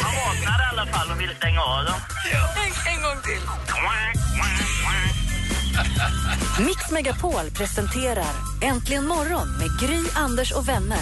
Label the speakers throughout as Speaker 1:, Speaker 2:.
Speaker 1: Han vaknade i alla fall och ville stänga av dem.
Speaker 2: En, en gång till.
Speaker 3: Mix Megapol presenterar Äntligen morgon med Gry, Anders och vänner.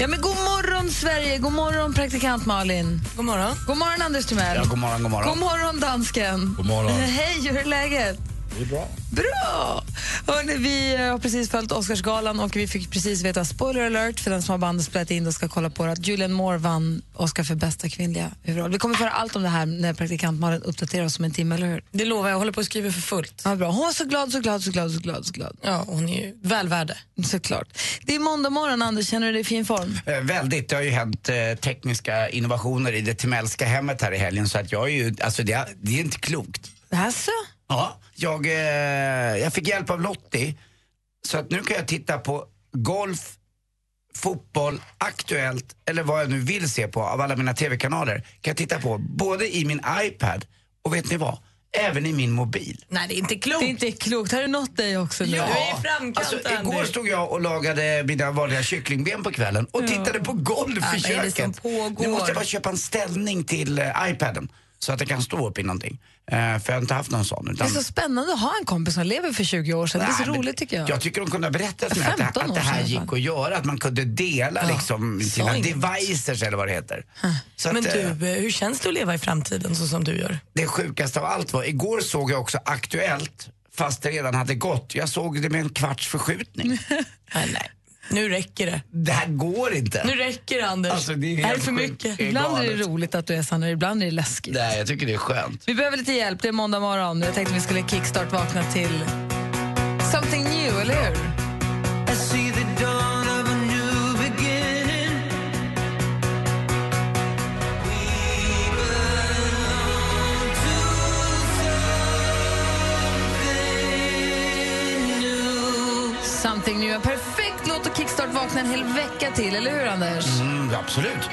Speaker 4: Ja, men god morgon, Sverige! God morgon, praktikant Malin.
Speaker 2: God morgon.
Speaker 4: God morgon, Anders Timell.
Speaker 5: Ja, god morgon, god morgon.
Speaker 4: God morgon, dansken.
Speaker 5: God morgon.
Speaker 4: Hej, hur är läget?
Speaker 5: Det är bra.
Speaker 4: Bra! Hörrni, vi eh, har precis följt Oscarsgalan och vi fick precis veta, spoiler alert för den som har bandet spelat in och ska kolla på det, att Julian Moore vann Oscar för bästa kvinnliga huvudroll. Vi kommer få höra allt om det här när praktikant Malin uppdaterar oss om en timme, eller hur?
Speaker 2: Det lovar jag, jag håller på att skriva för fullt.
Speaker 4: Ja, bra. Hon var så glad, så glad, så glad, så glad, så glad.
Speaker 2: Ja, hon är ju väl värd det.
Speaker 4: Såklart. Det är måndag morgon, Anders. Känner du dig i fin form?
Speaker 5: Eh, väldigt. Det har ju hänt eh, tekniska innovationer i det Timellska hemmet här i helgen så att jag är ju, alltså det, det är inte klokt.
Speaker 4: Alltså?
Speaker 5: Ja, jag, eh, jag fick hjälp av Lottie så att nu kan jag titta på golf, fotboll, Aktuellt eller vad jag nu vill se på av alla mina TV-kanaler. Kan jag titta på både i min iPad och vet ni vad? Även i min mobil.
Speaker 2: Nej, det är inte klokt.
Speaker 4: Det är inte klokt. Har du nått dig också nu?
Speaker 2: Ja. Du är i framkant,
Speaker 5: Alltså, igår
Speaker 2: Anders.
Speaker 5: stod jag och lagade mina vanliga kycklingben på kvällen och tittade på golv
Speaker 2: vad är
Speaker 5: i
Speaker 2: det
Speaker 5: köket.
Speaker 2: som pågår?
Speaker 5: Nu måste jag bara köpa en ställning till eh, iPaden så att jag kan stå upp i någonting. Eh, för jag har inte haft någon sån.
Speaker 4: Det
Speaker 5: Utan,
Speaker 4: är så spännande att ha en kompis som lever för 20 år sedan. det är så
Speaker 5: Nej, men
Speaker 4: roligt tycker jag.
Speaker 5: Jag tycker de kunde ha berättat för mig att, det-
Speaker 4: 15
Speaker 5: att det här
Speaker 4: år sedan.
Speaker 5: gick att göra, att man kunde dela liksom sina
Speaker 2: inget.
Speaker 5: devices eller vad det heter. Så att,
Speaker 2: Men
Speaker 5: eh,
Speaker 2: du, eh, hur känns det att leva i framtiden så som du gör?
Speaker 5: det sjukaste av allt var, igår såg jag också Aktuellt fast det redan hade gått. Jag såg det med en kvarts förskjutning.
Speaker 2: Nej, nej. Nu räcker det.
Speaker 5: Det här går inte.
Speaker 2: Nu räcker det, Anders.
Speaker 5: Alltså, det är
Speaker 2: här är
Speaker 5: helt
Speaker 2: för
Speaker 5: sjukt.
Speaker 2: mycket.
Speaker 5: Det är
Speaker 4: ibland är det
Speaker 5: galet.
Speaker 4: roligt att du är sann och ibland är det läskigt.
Speaker 5: Nej, jag tycker det är skönt.
Speaker 4: Vi behöver lite hjälp. Det är måndag morgon. Jag tänkte vi skulle kickstart-vakna till something new, eller hur? Something new. En perfekt låt att kickstart-vakna en hel vecka till, eller hur Anders?
Speaker 5: Mm, absolut.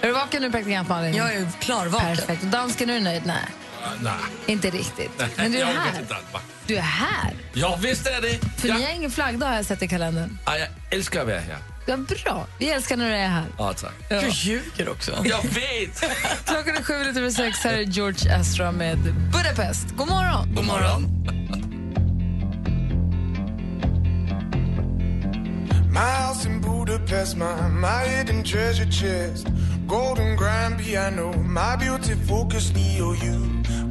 Speaker 4: Är du vaken nu, praktikant Malin?
Speaker 2: Jag är klarvaken.
Speaker 4: Perfekt. Och dansken, är du nöjd? Nej.
Speaker 6: Ah, Nej,
Speaker 4: Inte riktigt. Men du är
Speaker 6: jag orkar
Speaker 4: här.
Speaker 6: inte allt, va?
Speaker 4: Du är här.
Speaker 6: Ja, visst är det.
Speaker 4: För
Speaker 6: Jag,
Speaker 4: ni har ingen flaggdag har jag sett i kalendern.
Speaker 6: ja, jag älskar att vara här.
Speaker 4: Ja, bra. Vi älskar när du är här.
Speaker 6: Ja, tack.
Speaker 2: Du ljuger också.
Speaker 6: Jag vet.
Speaker 4: Klockan är sju minuter över sex. Här är George Ezra med Budapest. God morgon!
Speaker 6: God morgon.
Speaker 7: My house in Budapest, my, my hidden treasure chest. Golden grand piano, my beauty focus, EOU.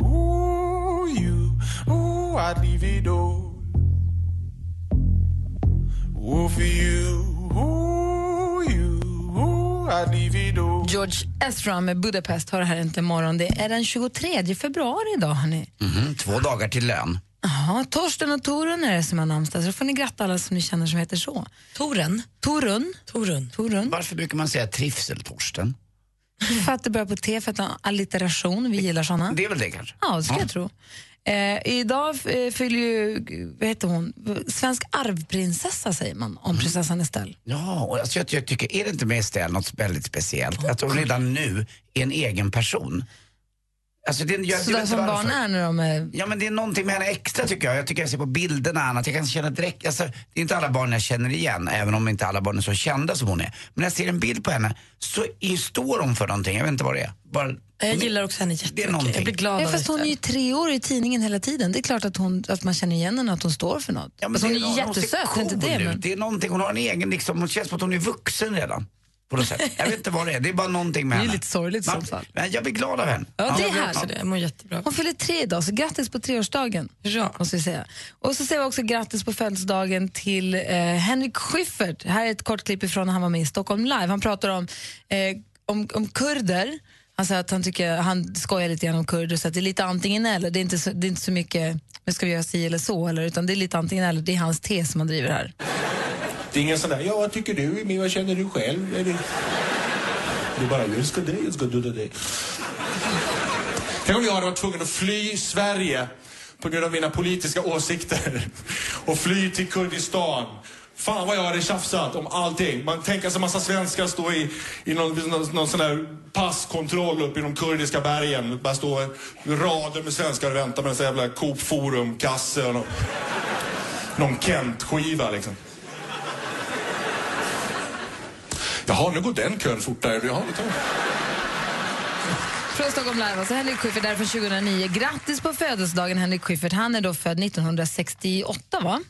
Speaker 7: Ooh, you, ooh, I'd leave it all. Ooh, for you, ooh, you, ooh, I'd leave it all.
Speaker 4: George Ezra med Budapest har det här inte imorgon. Det är den 23 februari idag, hörni.
Speaker 5: Mm, två dagar till lön.
Speaker 4: Jaha, Torsten och Torun är det som har namnsdag, så då får ni gratta alla som ni känner som heter så.
Speaker 2: Toren.
Speaker 4: Torun,
Speaker 2: Torun.
Speaker 4: Torun.
Speaker 5: Varför brukar man säga trivseltorsten?
Speaker 4: för att det börjar på T, för att det är allitteration. Vi gillar såna.
Speaker 5: Det är väl det kanske?
Speaker 4: Ja, det skulle jag tro. Eh, idag eh, fyller ju, vad heter hon, svensk arvprinsessa säger man om prinsessan Estelle.
Speaker 5: Ja, och alltså jag, jag tycker, är det inte med Estelle något väldigt speciellt? Att hon redan nu är en egen person. Alltså det, jag, jag vet
Speaker 4: Sådär
Speaker 5: inte
Speaker 4: som
Speaker 5: varför.
Speaker 4: barn är när de är...
Speaker 5: Ja men det är någonting med henne extra tycker jag. Jag tycker jag ser på bilderna och annat. Jag kan känna direkt, alltså, det är inte alla barn jag känner igen, även om inte alla barn är så kända som hon är. Men när jag ser en bild på henne så är, står hon för någonting, jag vet inte vad det är. Bara,
Speaker 2: Jag gillar också henne jättemycket. Jag
Speaker 5: någonting.
Speaker 2: blir glad
Speaker 4: Ja,
Speaker 2: av
Speaker 4: fast hon är ju tre år i tidningen hela tiden. Det är klart att, hon, att man känner igen henne och att hon står för något.
Speaker 5: Ja, men
Speaker 4: Fast Alltså, hon är
Speaker 5: det-
Speaker 4: ju
Speaker 5: ser
Speaker 4: jättesöt,
Speaker 5: cool
Speaker 4: inte det?
Speaker 5: ut.
Speaker 4: Men...
Speaker 5: Det är någonting, hon har en egen liksom, hon känns som att hon är vuxen redan. På något sätt. Jag vet inte vad det är, det är bara någonting med
Speaker 4: Det är
Speaker 5: henne.
Speaker 4: lite sorgligt i
Speaker 5: Man-
Speaker 4: så fall.
Speaker 5: Men jag blir glad av henne.
Speaker 4: Ja, det är
Speaker 2: Jag också
Speaker 4: härligt.
Speaker 2: det. Jag mår jättebra.
Speaker 4: Hon fyller tre idag, så grattis på treårsdagen.
Speaker 2: Ja.
Speaker 4: Måste vi säga. Och så säger vi också grattis på födelsedagen till eh, Henrik Schyffert. Här är ett kort klipp ifrån när han var med i Stockholm Live. Han pratar om, eh, om, om kurder. Han säger att han, tycker, han skojar lite grann om kurder, så att det är lite antingen eller. Det är inte så, det är inte så mycket nu ska vi göra si eller så, eller, utan det är lite antingen eller. Det är hans tes som han driver här.
Speaker 7: Det är ingen sån där, ja vad tycker du, men vad känner du själv? Eller,
Speaker 8: Du bara, jag ska det, jag ska döda dig. Tänk om jag hade varit tvungen att fly Sverige på grund av mina politiska åsikter och fly till Kurdistan. Fan vad jag hade tjafsat om allting. Man tänker sig en massa svenskar stå i, i någon, någon, någon sån där passkontroll uppe i de kurdiska bergen. Bara stå rader med svenskar och vänta med en sån jävla Coop Forum-kasse och någon, någon Kent-skiva liksom. Jaha, nu går den kön fortare. Jaha, det tar...
Speaker 4: Från Stockholm Live, alltså Henrik Schyffert där från 2009. Grattis på födelsedagen Henrik Schyffert. Han är då född 1968 va?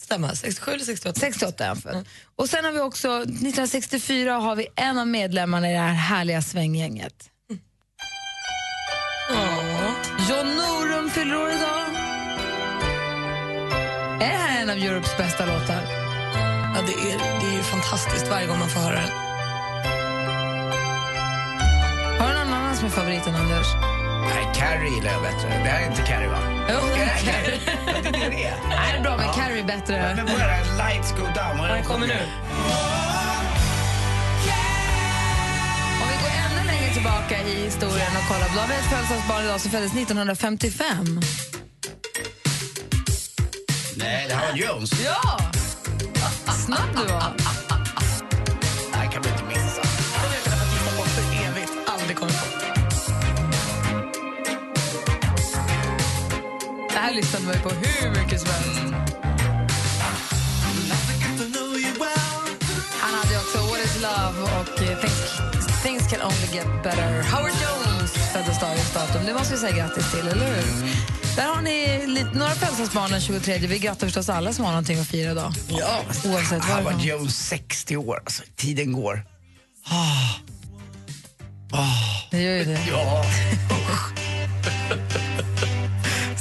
Speaker 2: Stämmer, 67 eller 68?
Speaker 4: 68 är han född. Och sen har vi också, 1964 har vi en av medlemmarna i det här härliga svänggänget.
Speaker 2: Mm.
Speaker 4: John Norum fyller år idag. Är det här en av Europes bästa låtar?
Speaker 2: Ja, det är, det är ju fantastiskt varje gång man får höra den.
Speaker 4: Har du någon annan som är favoriten, Anders?
Speaker 5: Nej, Carrie gillar jag bättre. Det här är inte Carrie va?
Speaker 4: Jo,
Speaker 5: det är Carrie. Ja, det är det det är.
Speaker 4: Nej, det är bra, men Carrie är bättre.
Speaker 5: Men bara lights go down. Den kommer nu.
Speaker 4: Om vi går ännu längre tillbaka i historien och kollar. Då har vi ett födelsedagsbarn idag som föddes 1955.
Speaker 5: Nej, det här var Jones.
Speaker 4: Ja! Snabb du var.
Speaker 5: Det här kan man inte missa.
Speaker 2: Aldrig kommer på.
Speaker 4: Det här lyssnade man ju på hur mycket som helst. Han hade ju också What is love och eh, Things, things can only get better. Howard Jones föddes dagens datum. Det måste vi säga grattis till, eller hur? Där har ni lite, några födelsedagsbarn den 23. Vi grattar förstås alla som har någonting att fira idag.
Speaker 5: Ja.
Speaker 4: Oavsett vad det
Speaker 5: Howard
Speaker 4: var.
Speaker 5: Jones, 60 år. Alltså, tiden går.
Speaker 4: Det gör ju det.
Speaker 5: Ja.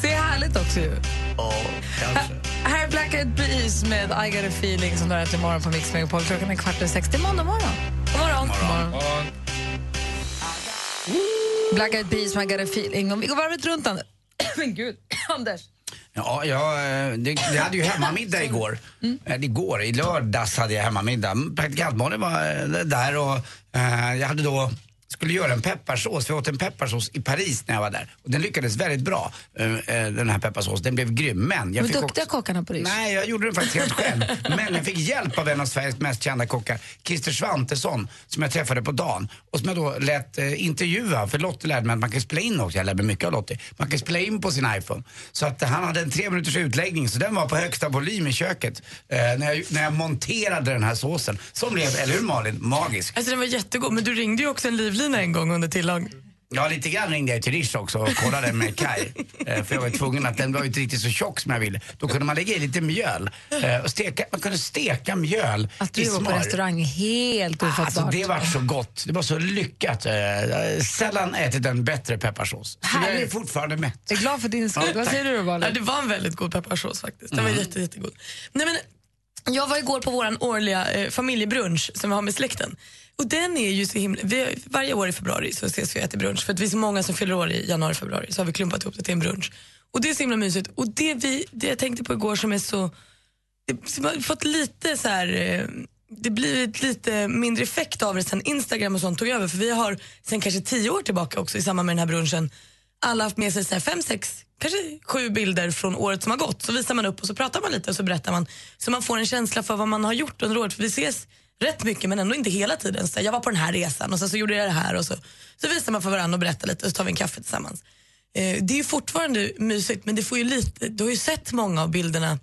Speaker 4: Det är härligt också ju.
Speaker 5: Ja, kanske.
Speaker 4: Här är Black Eyed Peas med I got a feeling som drar till imorgon på Mix Megapol. Klockan är kvart över sex. Det är måndag morgon. God morgon. God morgon. Black Eyed Peas med I got a feeling. Om vi går varvet runt, Anders. Men gud, Anders.
Speaker 5: Ja, jag, eh, det, jag hade ju hemmamiddag igår. Eller igår, i lördags hade jag hemmamiddag. Praktikantmålen var eh, där och eh, jag hade då skulle göra en pepparsås. Vi åt en pepparsås i Paris när jag var där. Och den lyckades väldigt bra, eh, eh, den här pepparsåsen. Den blev grym. Men jag
Speaker 4: De är
Speaker 5: fick
Speaker 4: duktiga
Speaker 5: också...
Speaker 4: kockarna på Rysch.
Speaker 5: Nej, jag gjorde den faktiskt helt själv. Men jag fick hjälp av en av Sveriges mest kända kockar, Christer Svantesson, som jag träffade på dagen. Och som jag då lät eh, intervjua, för Lottie lärde mig att man kan spela in också, jag lärde mig mycket av Lottie. Man kan spela in på sin iPhone. Så att eh, han hade en tre minuters utläggning, så den var på högsta volym i köket. Eh, när, jag, när jag monterade den här såsen, som blev, eller hur Malin, magisk.
Speaker 2: Alltså den var jättegod, men du ringde ju också en livlina en gång under tillag.
Speaker 5: Ja, lite grann ringde jag till Rish också och kollade med Kai. Eh, För jag var tvungen att den var ju inte riktigt så tjock som jag ville. Då kunde man lägga i lite mjöl. Eh, Och steka, man kunde steka mjöl
Speaker 4: Att
Speaker 5: i
Speaker 4: du var
Speaker 5: smör.
Speaker 4: på restaurang är helt ofattbart.
Speaker 5: Alltså det var så gott. Det var så lyckat. Eh, Jag har sällan ätit en bättre pepparsås. Så jag är
Speaker 4: Härligt.
Speaker 5: fortfarande mätt.
Speaker 4: Jag är glad för din skull.
Speaker 5: Ja,
Speaker 4: Vad
Speaker 5: tack.
Speaker 4: säger du då,
Speaker 2: Ja,
Speaker 4: Malin?
Speaker 2: det var en väldigt god pepparsås faktiskt. Den var jätte, jättegod. Nej, men, jag var igår på vår årliga eh, familjebrunch som vi har med släkten. Och den är ju så himla... Vi, varje år i februari så ses vi och äter brunch för att vi är så många som fyller år i januari, februari så har vi klumpat ihop det till en brunch. Och det är så himla mysigt. Och det, vi, det jag tänkte på igår som är så... Det, som har fått lite så här... eh, Det blivit lite mindre effekt av det sen Instagram och sånt tog över för vi har sen kanske tio år tillbaka också i samband med den här brunchen alla haft med sig så här fem, sex, kanske sju bilder från året som har gått. Så visar man upp och så pratar man lite och så berättar man. Så man får en känsla för vad man har gjort under året. För vi ses rätt mycket men ändå inte hela tiden. Så här, jag var på den här resan och sen så gjorde jag det här. Och så, så visar man för varandra och berättar lite och så tar vi en kaffe tillsammans. Eh, det är ju fortfarande mysigt men det får ju lite, du har ju sett många av bilderna.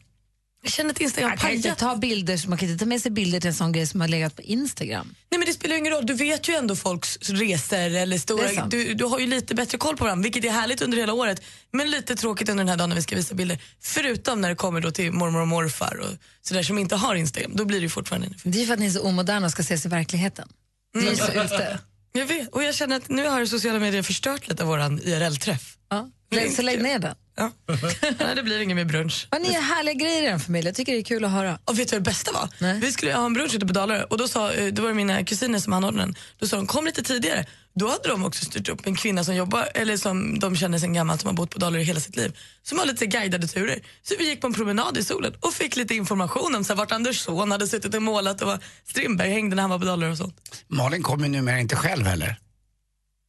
Speaker 2: Jag känner att Instagram
Speaker 4: Man kan, inte
Speaker 2: pajat
Speaker 4: ta bilder, man kan inte ta med sig bilder till en sån grej som har legat på Instagram.
Speaker 2: Nej men det spelar ju ingen roll, du vet ju ändå folks resor eller
Speaker 4: Det är
Speaker 2: stora,
Speaker 4: sant.
Speaker 2: du, du har ju lite bättre koll på varandra vilket är härligt under hela året men lite tråkigt under den här dagen när vi ska visa bilder. Förutom när det kommer då till mormor och morfar och sådär som inte har Instagram, då blir det ju fortfarande en
Speaker 4: Det är ju för att ni är så omoderna och ska ses i verkligheten.
Speaker 2: Mm.
Speaker 4: Ni är ju så ute.
Speaker 2: Jag vet, och jag känner att nu har sociala medier förstört lite av våran IRL-träff.
Speaker 4: Ja. Lägg, så lägg ner den.
Speaker 2: Ja. Nej, det blir ingen mer brunch.
Speaker 4: Vad ni är härliga grejer i den familjen. Jag tycker det är kul att höra.
Speaker 2: Och vet du vad det bästa var? Vi skulle ha en brunch ute på Dalarö och då sa, eh, det var det mina kusiner som anordnade den. Då sa de kom lite tidigare. Då hade de också styrt upp en kvinna som jobbar, eller som de känner sen gammalt som har bott på Dalarö hela sitt liv. Som har lite guidade turer. Så vi gick på en promenad i solen och fick lite information om så här, vart Anders son hade suttit och målat och vad Strindberg hängde när han var på Dalarö och sånt.
Speaker 5: Malin kommer ju numera inte själv heller.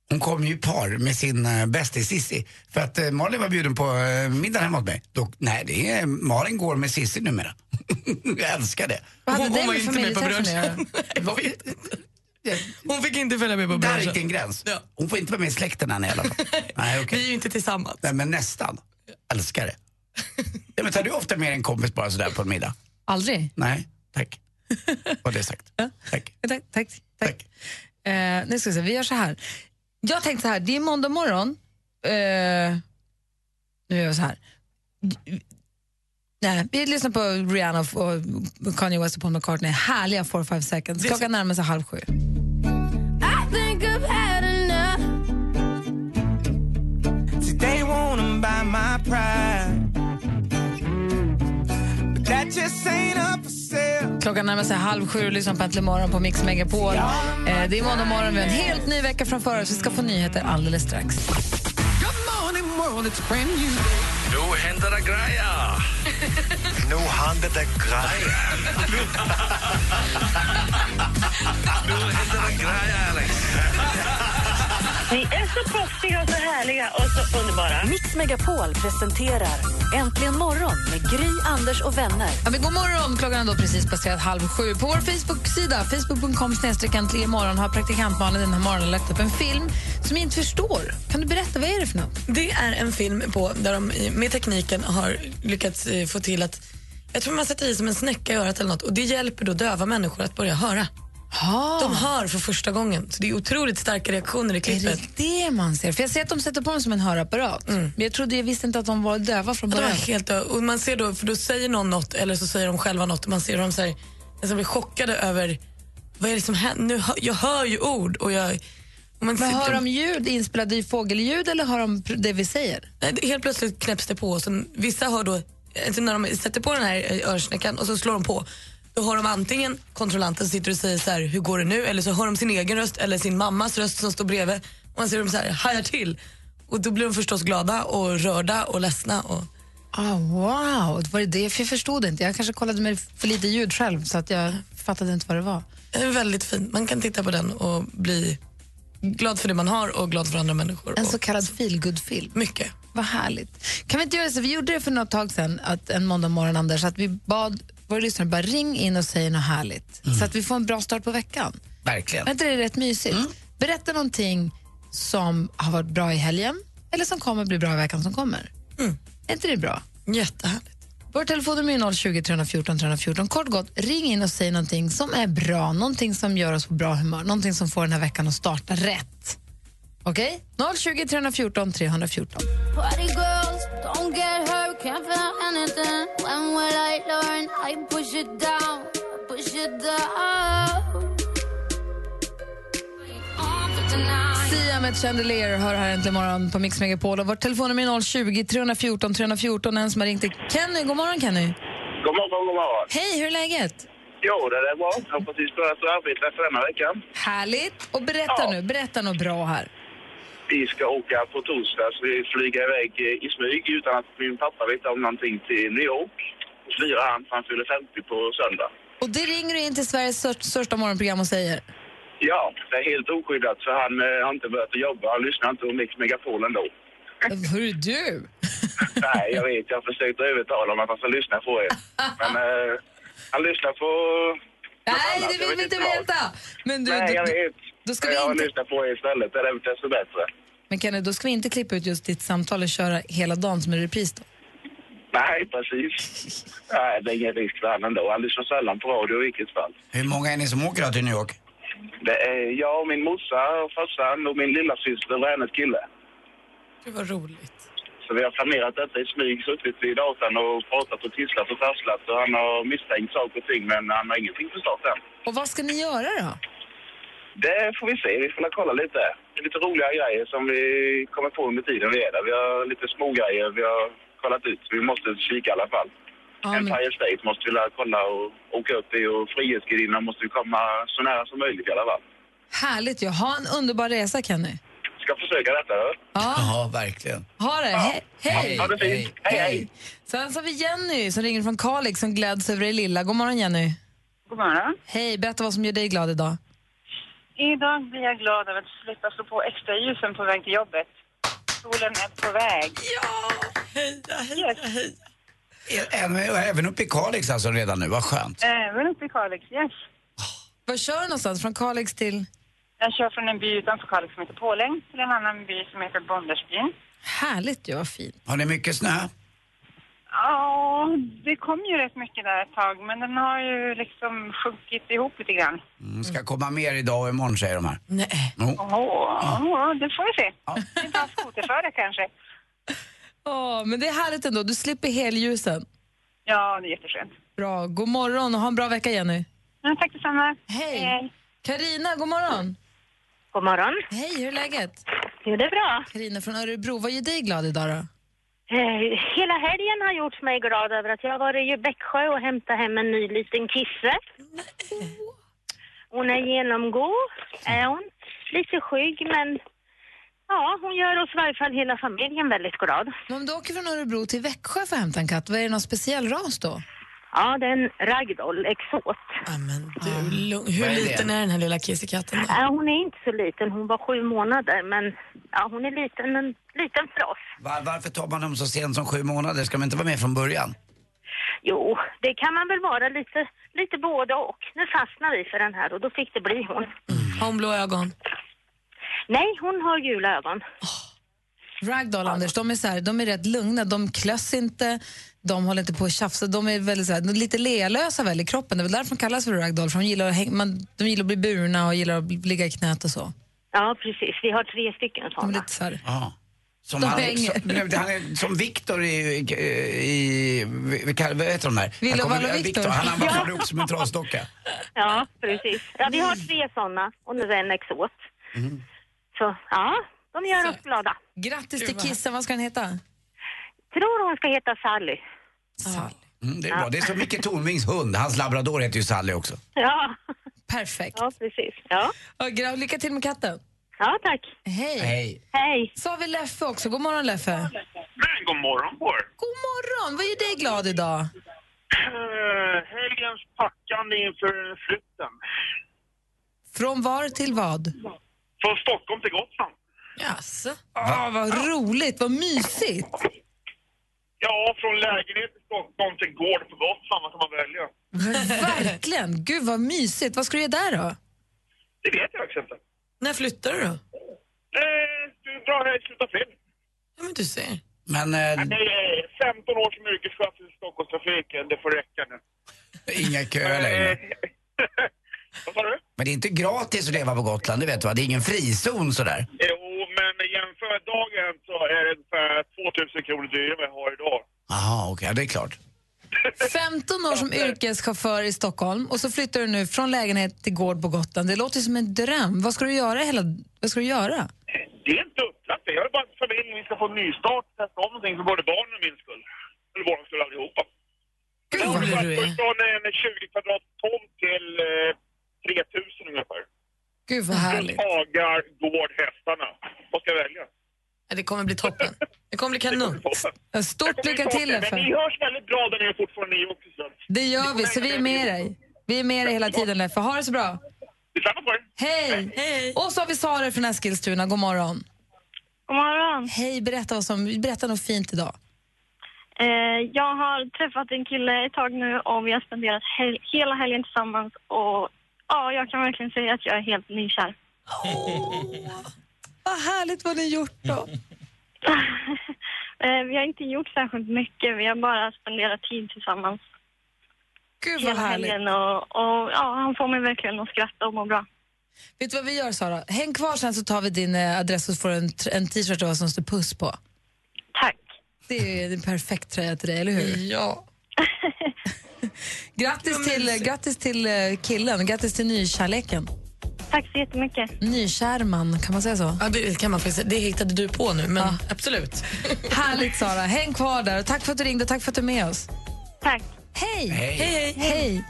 Speaker 5: Hon kom ju i par med sin eh, bästis Sissi. För att eh, Malin var bjuden på eh, middag hemma hos mig. Då, nej, det är, Malin går med Sissi numera. Jag älskar det.
Speaker 4: Vad hade det med familjeträffen att göra?
Speaker 2: Hon fick inte följa med på
Speaker 5: Där
Speaker 2: brunchen.
Speaker 5: gick en gräns. Hon får inte vara med i släkten än i alla fall. Nej,
Speaker 2: Vi är ju inte tillsammans.
Speaker 5: Nej, men nästan. Älskar det. Ja, men tar du ofta med en kompis bara sådär på en middag?
Speaker 4: Aldrig?
Speaker 5: Nej, tack. Var det sagt.
Speaker 4: Ja, Tack. tack, tack. Eh, nu ska vi, se, vi gör så här. Jag tänkte så här, det är måndag morgon. Eh, nu gör jag så här. Nej, vi lyssnar på Rihanna och- och Kanye West och Paul McCartney. Härliga 4-5 seconds. Klockan närmar sig halv sju.
Speaker 9: I think I've had enough.
Speaker 10: They wanna buy my pride. But that just ain't up for sale.
Speaker 4: Klockan närmar sig halv sju och lyssnar på Äntligen morgon på Mix Megapol. Eh, det är måndag morgon, vi har en helt ny vecka framför oss. Vi ska få nyheter alldeles strax.
Speaker 11: Nu händer det grejer! nu händer det grejer! nu händer det grejer, Alex!
Speaker 3: Ni är så proffsiga och så härliga och så underbara. Mix Megapol presenterar Äntligen morgon med Gry, Anders och vänner.
Speaker 4: Ja, men god morgon! Klockan är då precis passerat halv sju. På vår Facebook-sida, facebook.com snedstreck äntligen imorgon, har praktikant Malin den här morgonen lagt upp en film som jag inte förstår. Kan du berätta, vad är det för något?
Speaker 2: Det är en film på, där de i- med tekniken har lyckats eh, få till att jag tror man sätter i som en snäcka i örat eller något och det hjälper då döva människor att börja höra. De hör för första gången, så det är otroligt starka reaktioner i klippet.
Speaker 4: Är det det man ser? För jag ser att de sätter på dem som en hörapparat. Men jag trodde, jag visste inte att de var döva från
Speaker 2: Mm. Ja, de
Speaker 4: början.
Speaker 2: var helt dö- och man ser då, för då säger någon något eller så säger de själva något och man ser hur de så här, nästan blir chockade över vad är det som händer? Nu hör, jag hör ju ord och jag... och man
Speaker 4: Men
Speaker 2: ser-
Speaker 4: hör de ljud, inspelade i fågelljud eller hör de pr- det vi säger?
Speaker 2: Nej, det- Helt plötsligt knäpps det på. Och sen, vissa har då, alltså när de sätter på den här eh, örsnäckan och så slår de på, då har de antingen kontrollanten som sitter och säger så här, hur går det nu? Eller så hör de sin egen röst eller sin mammas röst som står bredvid. Och man ser dem så här, hajar till. Och då blir de förstås glada och rörda och ledsna. Och...
Speaker 4: Ah, wow, det var det det? För jag förstod inte. Jag kanske kollade med för lite ljud själv så att jag fattade inte vad det var.
Speaker 2: Den är väldigt fin. Man kan titta på den och bli glad för det man har och glad för andra människor.
Speaker 4: En
Speaker 2: Och-
Speaker 4: så kallad feelgood-film.
Speaker 2: Mycket.
Speaker 4: Vad härligt. Kan vi inte göra så? Vi gjorde det för något tag sedan, att en måndag morgon, Anders, att vi bad våra lyssnare bara ring in och säga något härligt.
Speaker 2: Mm.
Speaker 4: Så att vi får en bra start på veckan.
Speaker 5: Verkligen.
Speaker 4: Är inte det rätt mysigt? Berätta någonting som har varit bra i helgen eller som kommer bli bra i veckan som kommer. Är inte det bra?
Speaker 2: Jättehärligt.
Speaker 4: Vår telefonnummer är 020 314 314. Kort gott, ring in och säg någonting som är bra, någonting som gör oss på bra humör, någonting som får den här veckan att starta rätt. Okej? 020 314 314.
Speaker 9: Party girls, don't get hurt, can't feel anything. When will I learn? I push it down, push it down. On for tonight.
Speaker 4: Sia med Chandelier hör här äntligen morgon på Mix Megapol. Och vårt telefonnummer är 020 314 314. En som har ringt är Kenny. God morgon Kenny.
Speaker 12: God morgon, god morgon.
Speaker 4: Hej, hur är läget?
Speaker 12: Jo, det är bra. Jag har precis börjat att arbeta efter denna veckan.
Speaker 4: Härligt. Och berätta nu, berätta något bra här.
Speaker 12: Vi ska åka på torsdag, så vi flyger iväg eh, i smyg utan att min pappa vet om någonting till New York. Och firar han, för han fyller 50 på söndag.
Speaker 4: Och det ringer du in till Sveriges stör- största morgonprogram och säger.
Speaker 12: Ja, det är helt oskyddat, för han eh, har inte börjat att jobba. Han lyssnar inte på Mix Megapol ändå.
Speaker 4: Hörru du!
Speaker 12: Nej, jag vet. Jag har försökt att övertala honom att han ska lyssna på er. Men eh, han lyssnar på...
Speaker 4: Nej, det vill vi inte veta! Men du,
Speaker 12: Nej,
Speaker 4: du,
Speaker 12: jag vet.
Speaker 4: då ska vi
Speaker 12: jag
Speaker 4: inte-
Speaker 12: lyssnar på er istället. Det är desto bättre.
Speaker 4: Men Kenny, då ska vi inte klippa ut just ditt samtal och köra hela dagen som en repris då.
Speaker 12: Nej, precis. Nej, det är ingen risk för han ändå. Han lyssnar sällan på radio i vilket fall.
Speaker 5: Hur många är ni som åker då till New York?
Speaker 12: Det är jag och min morsa, och farsan och min lillasyster och hennes kille.
Speaker 2: Gud vad roligt.
Speaker 12: Så vi har planerat detta i smyg, suttit vid datorn och pratat och tisslat och tasslat. Och han har misstänkt saker och ting, men han har ingenting förstått än.
Speaker 4: Och vad ska ni göra då?
Speaker 12: Det får vi se. Vi får väl kolla lite. lite roliga grejer som vi kommer på under tiden vi är där. Vi har lite små grejer vi har kollat ut. Vi måste kika i alla fall. Empire State måste vi lära kolla och åka upp i och Frihetsgudinnan måste vi komma så nära som möjligt i alla fall.
Speaker 4: Härligt ju. Ha en underbar resa, Kenny.
Speaker 12: Ska försöka detta, hör.
Speaker 5: Ja, verkligen.
Speaker 4: Ha det. He- hej!
Speaker 12: Ha det fint. Hej, hej.
Speaker 4: Sen så har vi Jenny som ringer från Kalix som gläds över det lilla. God morgon, Jenny.
Speaker 13: God morgon.
Speaker 4: Hej, berätta vad som gör dig glad idag.
Speaker 13: Idag blir jag glad över att slippa slå på extra ljusen på väg till jobbet. Solen är på väg.
Speaker 2: Ja! Heja, heja, heja.
Speaker 5: Även, även uppe i Kalix alltså redan nu, vad skönt.
Speaker 13: Även Eh, uppe i Kalix, yes.
Speaker 4: Var kör du någonstans? Från Kalix till?
Speaker 13: Jag kör från en by utanför Kalix som heter Påläng till en annan by som heter Bondersbyn.
Speaker 4: Härligt ju, vad fint.
Speaker 5: Har ni mycket snö?
Speaker 13: Ja, det kom ju rätt mycket där ett tag, men den har ju liksom sjunkit ihop lite grann.
Speaker 5: Mm, ska komma mer idag och imorgon säger de här.
Speaker 4: Nej.
Speaker 13: Ja, det får vi se. Det är bara skoterförare kanske.
Speaker 4: Åh, men det är härligt ändå. Du slipper helljusen.
Speaker 13: Ja, det är jätteskönt.
Speaker 4: Bra. God morgon och ha en bra vecka, Jenny.
Speaker 13: Ja, tack detsamma.
Speaker 4: Hej. Karina, god morgon.
Speaker 13: God morgon.
Speaker 4: Hej, hur är läget?
Speaker 14: Jo, det är bra.
Speaker 4: Karina från Örebro, vad gör dig glad idag då?
Speaker 14: Eh, Hela helgen har gjort mig glad över att jag har varit i Växjö och hämtat hem en ny liten kisse. Hon är genomgod, är hon. Lite skygg, men ja, hon gör oss i varje fall hela familjen väldigt glad.
Speaker 4: Men om du åker från Örebro till Växjö för att hämta en katt, vad är det någon speciell ras då?
Speaker 14: Ja, det är en ragdoll, exot.
Speaker 2: Du, lugn. Hur liten är den här lilla kissekatten? då?
Speaker 14: Eh, Hon är inte så liten, hon var sju månader, men ja, hon är liten, en liten fross.
Speaker 5: Var, varför tar man dem så sent som sju månader? Ska man inte vara med från början?
Speaker 14: Jo, det kan man väl vara lite, lite både och. Nu fastnade vi för den här och då fick det bli hon.
Speaker 2: Har hon blå ögon?
Speaker 14: Nej, hon har gula ögon.
Speaker 4: Ragdoll, Anders, de är, så här, de är rätt lugna, de klöss inte, de håller inte på och tjafsa, de är väldigt så här, de är lite lealösa väl i kroppen, det är väl därför de kallas för ragdoll, för de gillar, att häng, man, de gillar att bli burna och gillar att bli- ligga i knät och så.
Speaker 14: Ja, precis. Vi har tre stycken
Speaker 4: De är
Speaker 14: sådana.
Speaker 4: lite så här,
Speaker 5: Ja. Som,
Speaker 4: De
Speaker 5: han,
Speaker 4: hänger.
Speaker 5: som, nej, han är, som Viktor i, i, i vi kallar- vad heter de där?
Speaker 14: Ville
Speaker 5: Han kommer-
Speaker 14: Valle
Speaker 5: ja,
Speaker 14: Viktor.
Speaker 5: Viktor, Han
Speaker 14: Ja.
Speaker 5: använder upp som en trasdocka.
Speaker 14: Ja, precis. Ja, vi har tre sådana och nu är en exot.
Speaker 5: Mm.
Speaker 14: Så ja, de gör oss glada.
Speaker 4: Grattis till kissen, vad ska den heta?
Speaker 14: Tror hon ska heta Sally.
Speaker 4: Sally.
Speaker 5: Mm, det är bra. Det är som Micke Tornvings hund. Hans labrador heter ju Sally också.
Speaker 14: Ja.
Speaker 4: Perfekt.
Speaker 14: Ja, precis. Ja.
Speaker 4: Ja, gra- lycka till med katten.
Speaker 14: Ja, tack.
Speaker 4: Hej.
Speaker 5: Hej.
Speaker 14: Hej.
Speaker 4: Så har vi Leffe också. God morgon, Leffe.
Speaker 1: Men god morgon på er.
Speaker 4: God morgon. Vad gör dig glad idag?
Speaker 1: Eh, helgens packande inför flytten.
Speaker 4: Från var till vad?
Speaker 1: Från Stockholm till Gotland.
Speaker 4: Jaså? Ah, vad roligt, vad mysigt.
Speaker 1: Ja, från lägenhet i Stockholm till gård på Gotland. Vad kan man välja?
Speaker 4: Verkligen. Gud, vad mysigt. Vad ska du göra där då?
Speaker 1: Det vet jag faktiskt inte.
Speaker 2: När flyttar du då?
Speaker 1: Eh, du drar här i slutet av februari.
Speaker 2: Ja, men du ser.
Speaker 5: Men eh,
Speaker 1: Nej, eh, 15 år som yrkeschaufför i Stockholmstrafiken. Det får räcka nu.
Speaker 5: inga köer
Speaker 8: Eh.
Speaker 5: längre.
Speaker 1: Eh, Vad sa du?
Speaker 5: Men det är inte gratis att leva på Gotland, det vet du va? Det är ingen frizon sådär.
Speaker 1: Jo, men jämför med dagen så är det ungefär 2000 kronor dyrare än vad jag har idag.
Speaker 5: Jaha, okej, ja, det är klart.
Speaker 4: 15 år som yrkeschaufför i Stockholm och så flyttar du nu från lägenhet till gård på Gotland. Det låter som en dröm. Vad ska du göra? Hela... Vad ska du göra?
Speaker 1: Det är inte upplagt. Jag är bara för att vi ska få en nystart, testa om någonting för både barnen och min skull. Eller våran skull allihopa. Gud vad rolig du är. Från en 20 kvadrat tomt till eh, 3000 ungefär.
Speaker 4: Gud, vad härligt.
Speaker 1: Hagar, gård, hästarna. Vad ska jag välja?
Speaker 2: Ja, Det kommer bli toppen. Det kommer bli kanon.
Speaker 1: Jag
Speaker 4: Stort
Speaker 1: kommer
Speaker 4: lycka
Speaker 1: inte
Speaker 4: till,
Speaker 1: ihåg det, Men ni
Speaker 4: Leffe.
Speaker 1: hörs väldigt bra där nere fortfarande ni också. så.
Speaker 4: Det gör vi, så vi är med dig. Vi är med dig hela tiden, Leffe. Ha det så bra. Hej! Hej. Och så har vi Sara från Eskilstuna. God morgon.
Speaker 15: God morgon.
Speaker 4: Hej, berätta, vad som, berätta något fint idag.
Speaker 15: Eh, jag har träffat en kille ett tag nu och vi har spenderat hel- hela helgen tillsammans och ja, jag kan verkligen säga att jag är helt nykär.
Speaker 4: Vad härligt vad ni gjort då.
Speaker 15: eh, vi har inte gjort särskilt mycket, vi har bara spenderat tid tillsammans.
Speaker 4: Gud
Speaker 15: hela
Speaker 4: vad härligt.
Speaker 15: helgen och, och ja, han får mig verkligen att skratta och må bra.
Speaker 4: Vet du vad vi gör, Sara? Häng kvar sen så tar vi din eh, adress och får en, tr- en t-shirt av oss som står puss på.
Speaker 15: Tack.
Speaker 4: Det är en perfekt tröja till dig, eller hur?
Speaker 2: Ja.
Speaker 4: grattis, till, grattis till eh, killen, grattis till nykärleken.
Speaker 15: Tack så jättemycket.
Speaker 4: Nykärman, kan man säga så?
Speaker 2: Ja, det kan man faktiskt säga. Det hittade du på nu, men absolut.
Speaker 4: Härligt Sara, häng kvar där. Tack för att du ringde och tack för att du är med oss.
Speaker 15: Tack.
Speaker 4: Hej!
Speaker 2: Hej.
Speaker 4: hej, hej.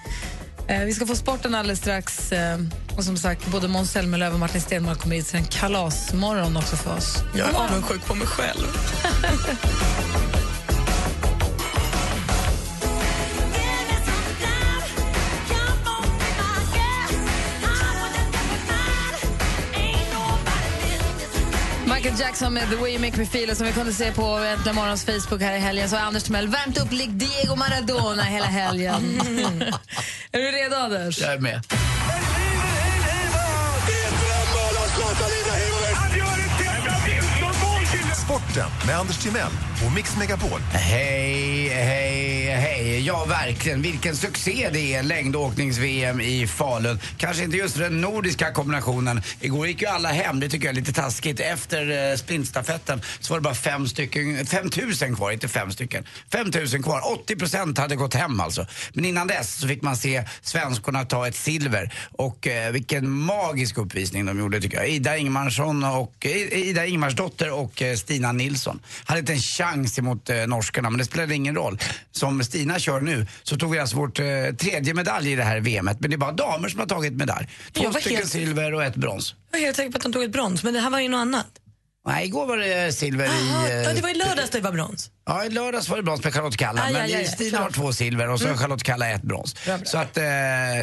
Speaker 4: Eh, vi ska få sporten alldeles strax. Eh, och som sagt, både Måns Zelmerlöw och Martin Stenmarck kommer hit. Så det är en kalasmorgon också för oss.
Speaker 2: Jag är avundsjuk på mig själv.
Speaker 4: Michael Jackson med The Way You Make Me Feel och som vi kunde se på Äntligen Morgons Facebook här i helgen så har Anders Timell värmt upp lik Diego Maradona hela helgen. Mm. är du redo Anders?
Speaker 5: Jag är med.
Speaker 11: Sporten med Anders Timell och Mix Megapol.
Speaker 5: Hej, hej, hej. Ja, verkligen. Vilken succé det är, längdåknings-VM i Falun. Kanske inte just den nordiska kombinationen. Igår gick ju alla hem, det tycker jag är lite taskigt. Efter eh, sprintstafetten så var det bara fem stycken, 5 000 kvar, inte fem stycken. 5 000 kvar, 80 procent hade gått hem alltså. Men innan dess så fick man se svenskorna ta ett silver. Och eh, vilken magisk uppvisning de gjorde tycker jag. Ida Ingmarsson och eh, Ida Ingmarsdotter och eh, Stina Nilsson. Hade inte en chans emot eh, norskarna, men det spelade ingen roll. Som Stina kör nu så tog vi alltså vårt eh, tredje medalj i det här VMet. Men det är bara damer som har tagit medalj. Två
Speaker 2: Jag var
Speaker 5: stycken
Speaker 2: helt-
Speaker 5: silver och ett brons.
Speaker 2: Jag är helt säker på att de tog ett brons, men det här var ju något annat.
Speaker 5: Nej, igår var det eh, silver i... eh,
Speaker 2: Ja, det var i lördags det var brons.
Speaker 5: Ja, i lördags var det brons med Charlotte Kalla,
Speaker 2: Aj,
Speaker 5: men
Speaker 2: aj, aj,
Speaker 5: Stina
Speaker 2: klart.
Speaker 5: har två silver och så har
Speaker 2: Mm.
Speaker 5: Charlotte Kalla ett brons.
Speaker 2: Bra, bra.
Speaker 5: Så att, eh,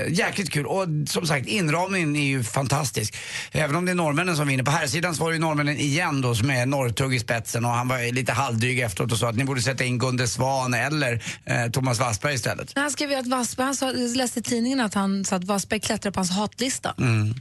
Speaker 5: jäkligt kul. Och som sagt, inramningen är ju fantastisk. Även om det är norrmännen som vinner. På här sidan så var det ju norrmännen igen då som är norrtugg i spetsen och han var ju lite halvdryg efteråt och sa att ni borde sätta in Gunde Svan eller eh, Thomas Wassberg istället.
Speaker 4: Han skrev ju att Wassberg, han sa, jag läste i tidningen att han sa att Wassberg klättrade på hans hatlista.
Speaker 5: Mm.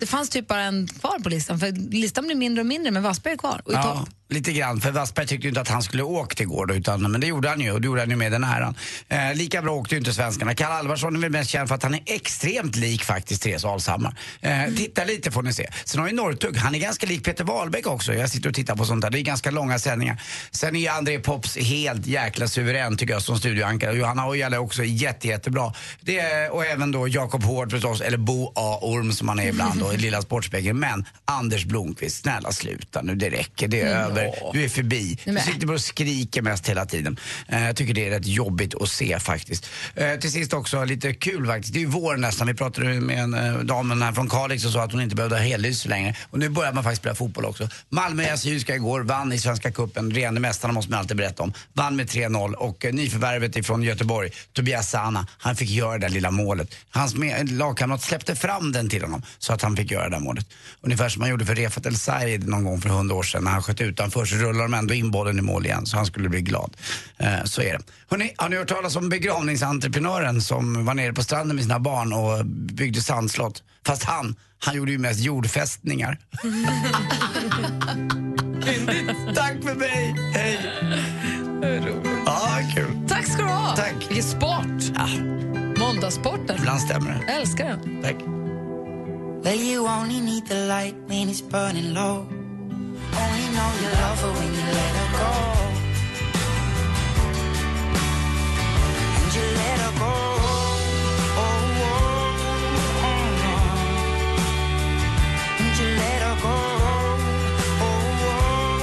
Speaker 4: Det fanns typ bara en kvar på listan, för listan blir mindre och mindre men Wassberg är kvar och i topp.
Speaker 5: Ja, lite grann. För Wassberg tyckte ju inte att han skulle åkt igår då, utan, men det gjorde han ju och det gjorde han ju med den äran. Eh, lika bra åkte ju inte svenskarna. Kalle Alvarsson är väl mest känd för att han är extremt lik faktiskt Therese Alshammar. Eh, titta lite får ni se. Sen har ju Norrtug, han är ganska lik Peter Wahlbeck också. Jag sitter och tittar på sånt där. Det är ganska långa sändningar. Sen är ju André Pops helt jäkla suverän tycker jag som studioankare. Och Johanna Ojala är också jätte, jättebra. Det är, och även då Jakob Hård förstås, eller Bo A. Orm som han är ibland då i Lilla Sportspegeln. Men Anders Blomqvist, snälla sluta nu, det räcker, det är
Speaker 4: Mm, Ja.
Speaker 5: över. Du är förbi. Du
Speaker 4: Nej.
Speaker 5: sitter bara och skriker mest hela tiden. Eh, jag tycker det är rätt jobbigt att se faktiskt. Eh, till sist också, lite kul faktiskt. Det är ju vår nästan. Vi pratade ju med en eh, damen här från Kalix och sa att hon inte behövde ha hellys längre. Och nu börjar man faktiskt spela fotboll också. Malmö Assyriska igår vann i Svenska Cupen. Regerande mästarna måste man alltid berätta om. Vann med 3-0 och eh, nyförvärvet ifrån Göteborg, Tobias Sana, han fick göra det där lilla målet. Hans med- lagkamrat släppte fram den till honom så att han fick göra det där målet. Ungefär som man gjorde för Refat El Said någon gång för hundra år sedan när han sköt utanför så rullade de ändå in bollen i mål igen så han skulle bli glad. Eh, så är det. Hörrni, har ni hört talas om begravningsentreprenören som var nere på stranden med sina barn och byggde sandslott? Fast han, han gjorde ju mest jordfästningar. Tack för mig! Hej! Ja, kul.
Speaker 4: Tack ska du ha!
Speaker 5: Tack.
Speaker 4: Vilken sport!
Speaker 5: Ja.
Speaker 4: Måndagssporten.
Speaker 5: Ibland stämmer det.
Speaker 4: Jag älskar den.
Speaker 5: Tack.
Speaker 10: Well, you only need the light when it's burning low. Only know you love her when you let her go. And you let her go. Oh, oh, oh, oh. And you let her go. Oh, oh, oh,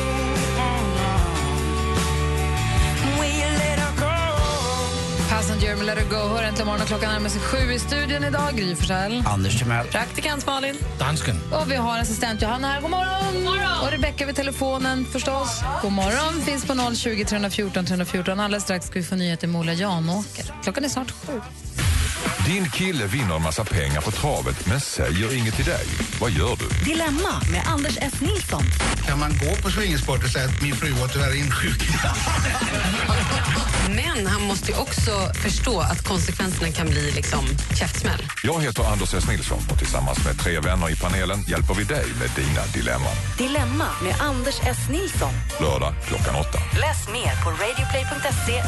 Speaker 10: oh. Will you let her go?
Speaker 4: Passenger med Let It Go hör äntligen morgon och klockan närmar sig sju i studion idag. Gry Forssell.
Speaker 5: Anders Timell.
Speaker 4: Praktikant Malin.
Speaker 6: Dansken.
Speaker 4: Och vi har assistent Johanna här. God morgon! Och Rebecka vid telefonen förstås. God morgon! Finns på 020 314 314. Alldeles strax ska vi få nyheter med Ola Janåker. Klockan är snart sju.
Speaker 16: Din kille vinner en massa pengar på travet men säger inget till dig. Vad gör du?
Speaker 3: Dilemma med Anders S. Nilsson.
Speaker 17: Kan man gå på swingersport och säga att min fru var tyvärr insjuk?
Speaker 18: Men han måste ju också förstå att konsekvenserna kan bli liksom käftsmäll.
Speaker 16: Jag heter Anders S. Nilsson och tillsammans med tre vänner i panelen hjälper vi dig med dina dilemman.
Speaker 3: Dilemma med Anders S. Nilsson.
Speaker 16: Lördag klockan åtta.
Speaker 3: Läs mer på radioplay.se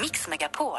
Speaker 3: mixmegapol.